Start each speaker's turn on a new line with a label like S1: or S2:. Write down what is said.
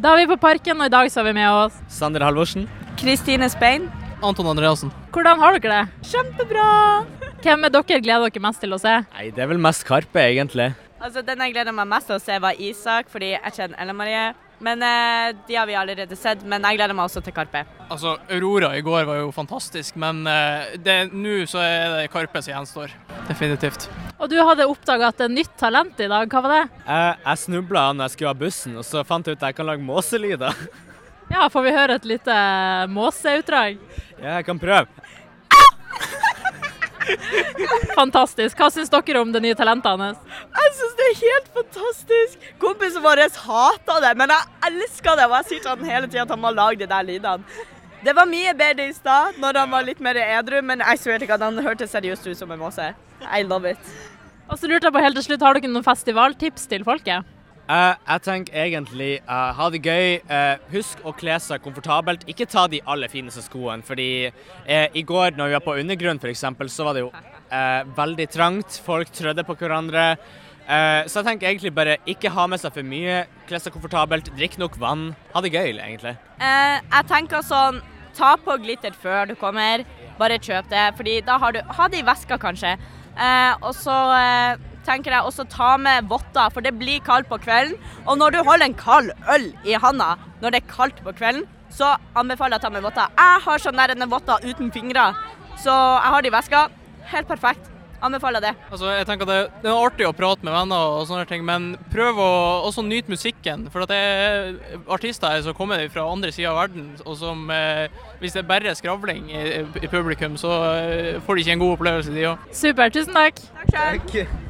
S1: Da er vi på Parken, og i dag så har vi med oss
S2: Sander Halvorsen.
S3: Kristine Spein.
S4: Anton Andreassen.
S1: Hvordan har dere det? Kjempebra! Hvem er dere gleder dere mest til å se?
S2: Nei, det er vel mest Karpe, egentlig.
S3: Altså, Den jeg gleder meg mest til å se, var Isak, fordi jeg kjenner Ellen Marie. Men eh, de har vi allerede sett. Men jeg gleder meg også til Karpe.
S4: Altså, Aurora i går var jo fantastisk, men eh, det- nå så er det Karpe som gjenstår. Definitivt.
S1: Og du hadde oppdaga et nytt talent i dag, hva var det?
S2: Jeg, jeg snubla når jeg skulle av bussen, og så fant jeg ut at jeg kan lage måselyder.
S1: Ja, får vi høre et lite eh, måseutdrag?
S2: Ja, jeg kan prøve.
S1: Fantastisk. Hva syns dere om det nye talentet hans?
S3: Jeg syns det er helt fantastisk. Kompisen vår hater det, men jeg elsker det. Og jeg sier til han hele tida at han må lage de der lydene. Det var mye bedre i stad, når han var litt mer edru, men jeg sverger ikke at han hørtes seriøst ut som en måse. I love it.
S1: Og så lurte jeg på helt til slutt, har dere noen festivaltips til folket?
S2: Eh, jeg tenker egentlig eh, ha det gøy. Eh, husk å kle seg komfortabelt. Ikke ta de aller fineste skoene, fordi eh, i går når vi var på undergrunn f.eks., så var det jo eh, veldig trangt. Folk trødde på hverandre. Eh, så jeg tenker egentlig bare ikke ha med seg for mye. Kle seg komfortabelt, drikk nok vann. Ha det gøy, egentlig.
S3: Eh, jeg tenker sånn, ta på glitter før du kommer. Bare kjøp det, fordi da har du Ha det i veska, kanskje. Eh, og så eh, tenker jeg også ta med votter, for det blir kaldt på kvelden. Og når du holder en kald øl i handa når det er kaldt på kvelden, så anbefaler jeg å ta med votter. Jeg har sånn der en votter uten fingre, så jeg har det i veska. Helt perfekt. Anbefaler det.
S4: Altså, jeg tenker det, det er artig å prate med venner og sånne ting, men prøv å også nyte musikken. For at det er artister her som kommer fra andre sida av verden, og som eh, Hvis det er bare skravling i, i publikum, så eh, får de ikke en god opplevelse, de òg.
S1: Supert, tusen takk.
S3: Takk sjøl.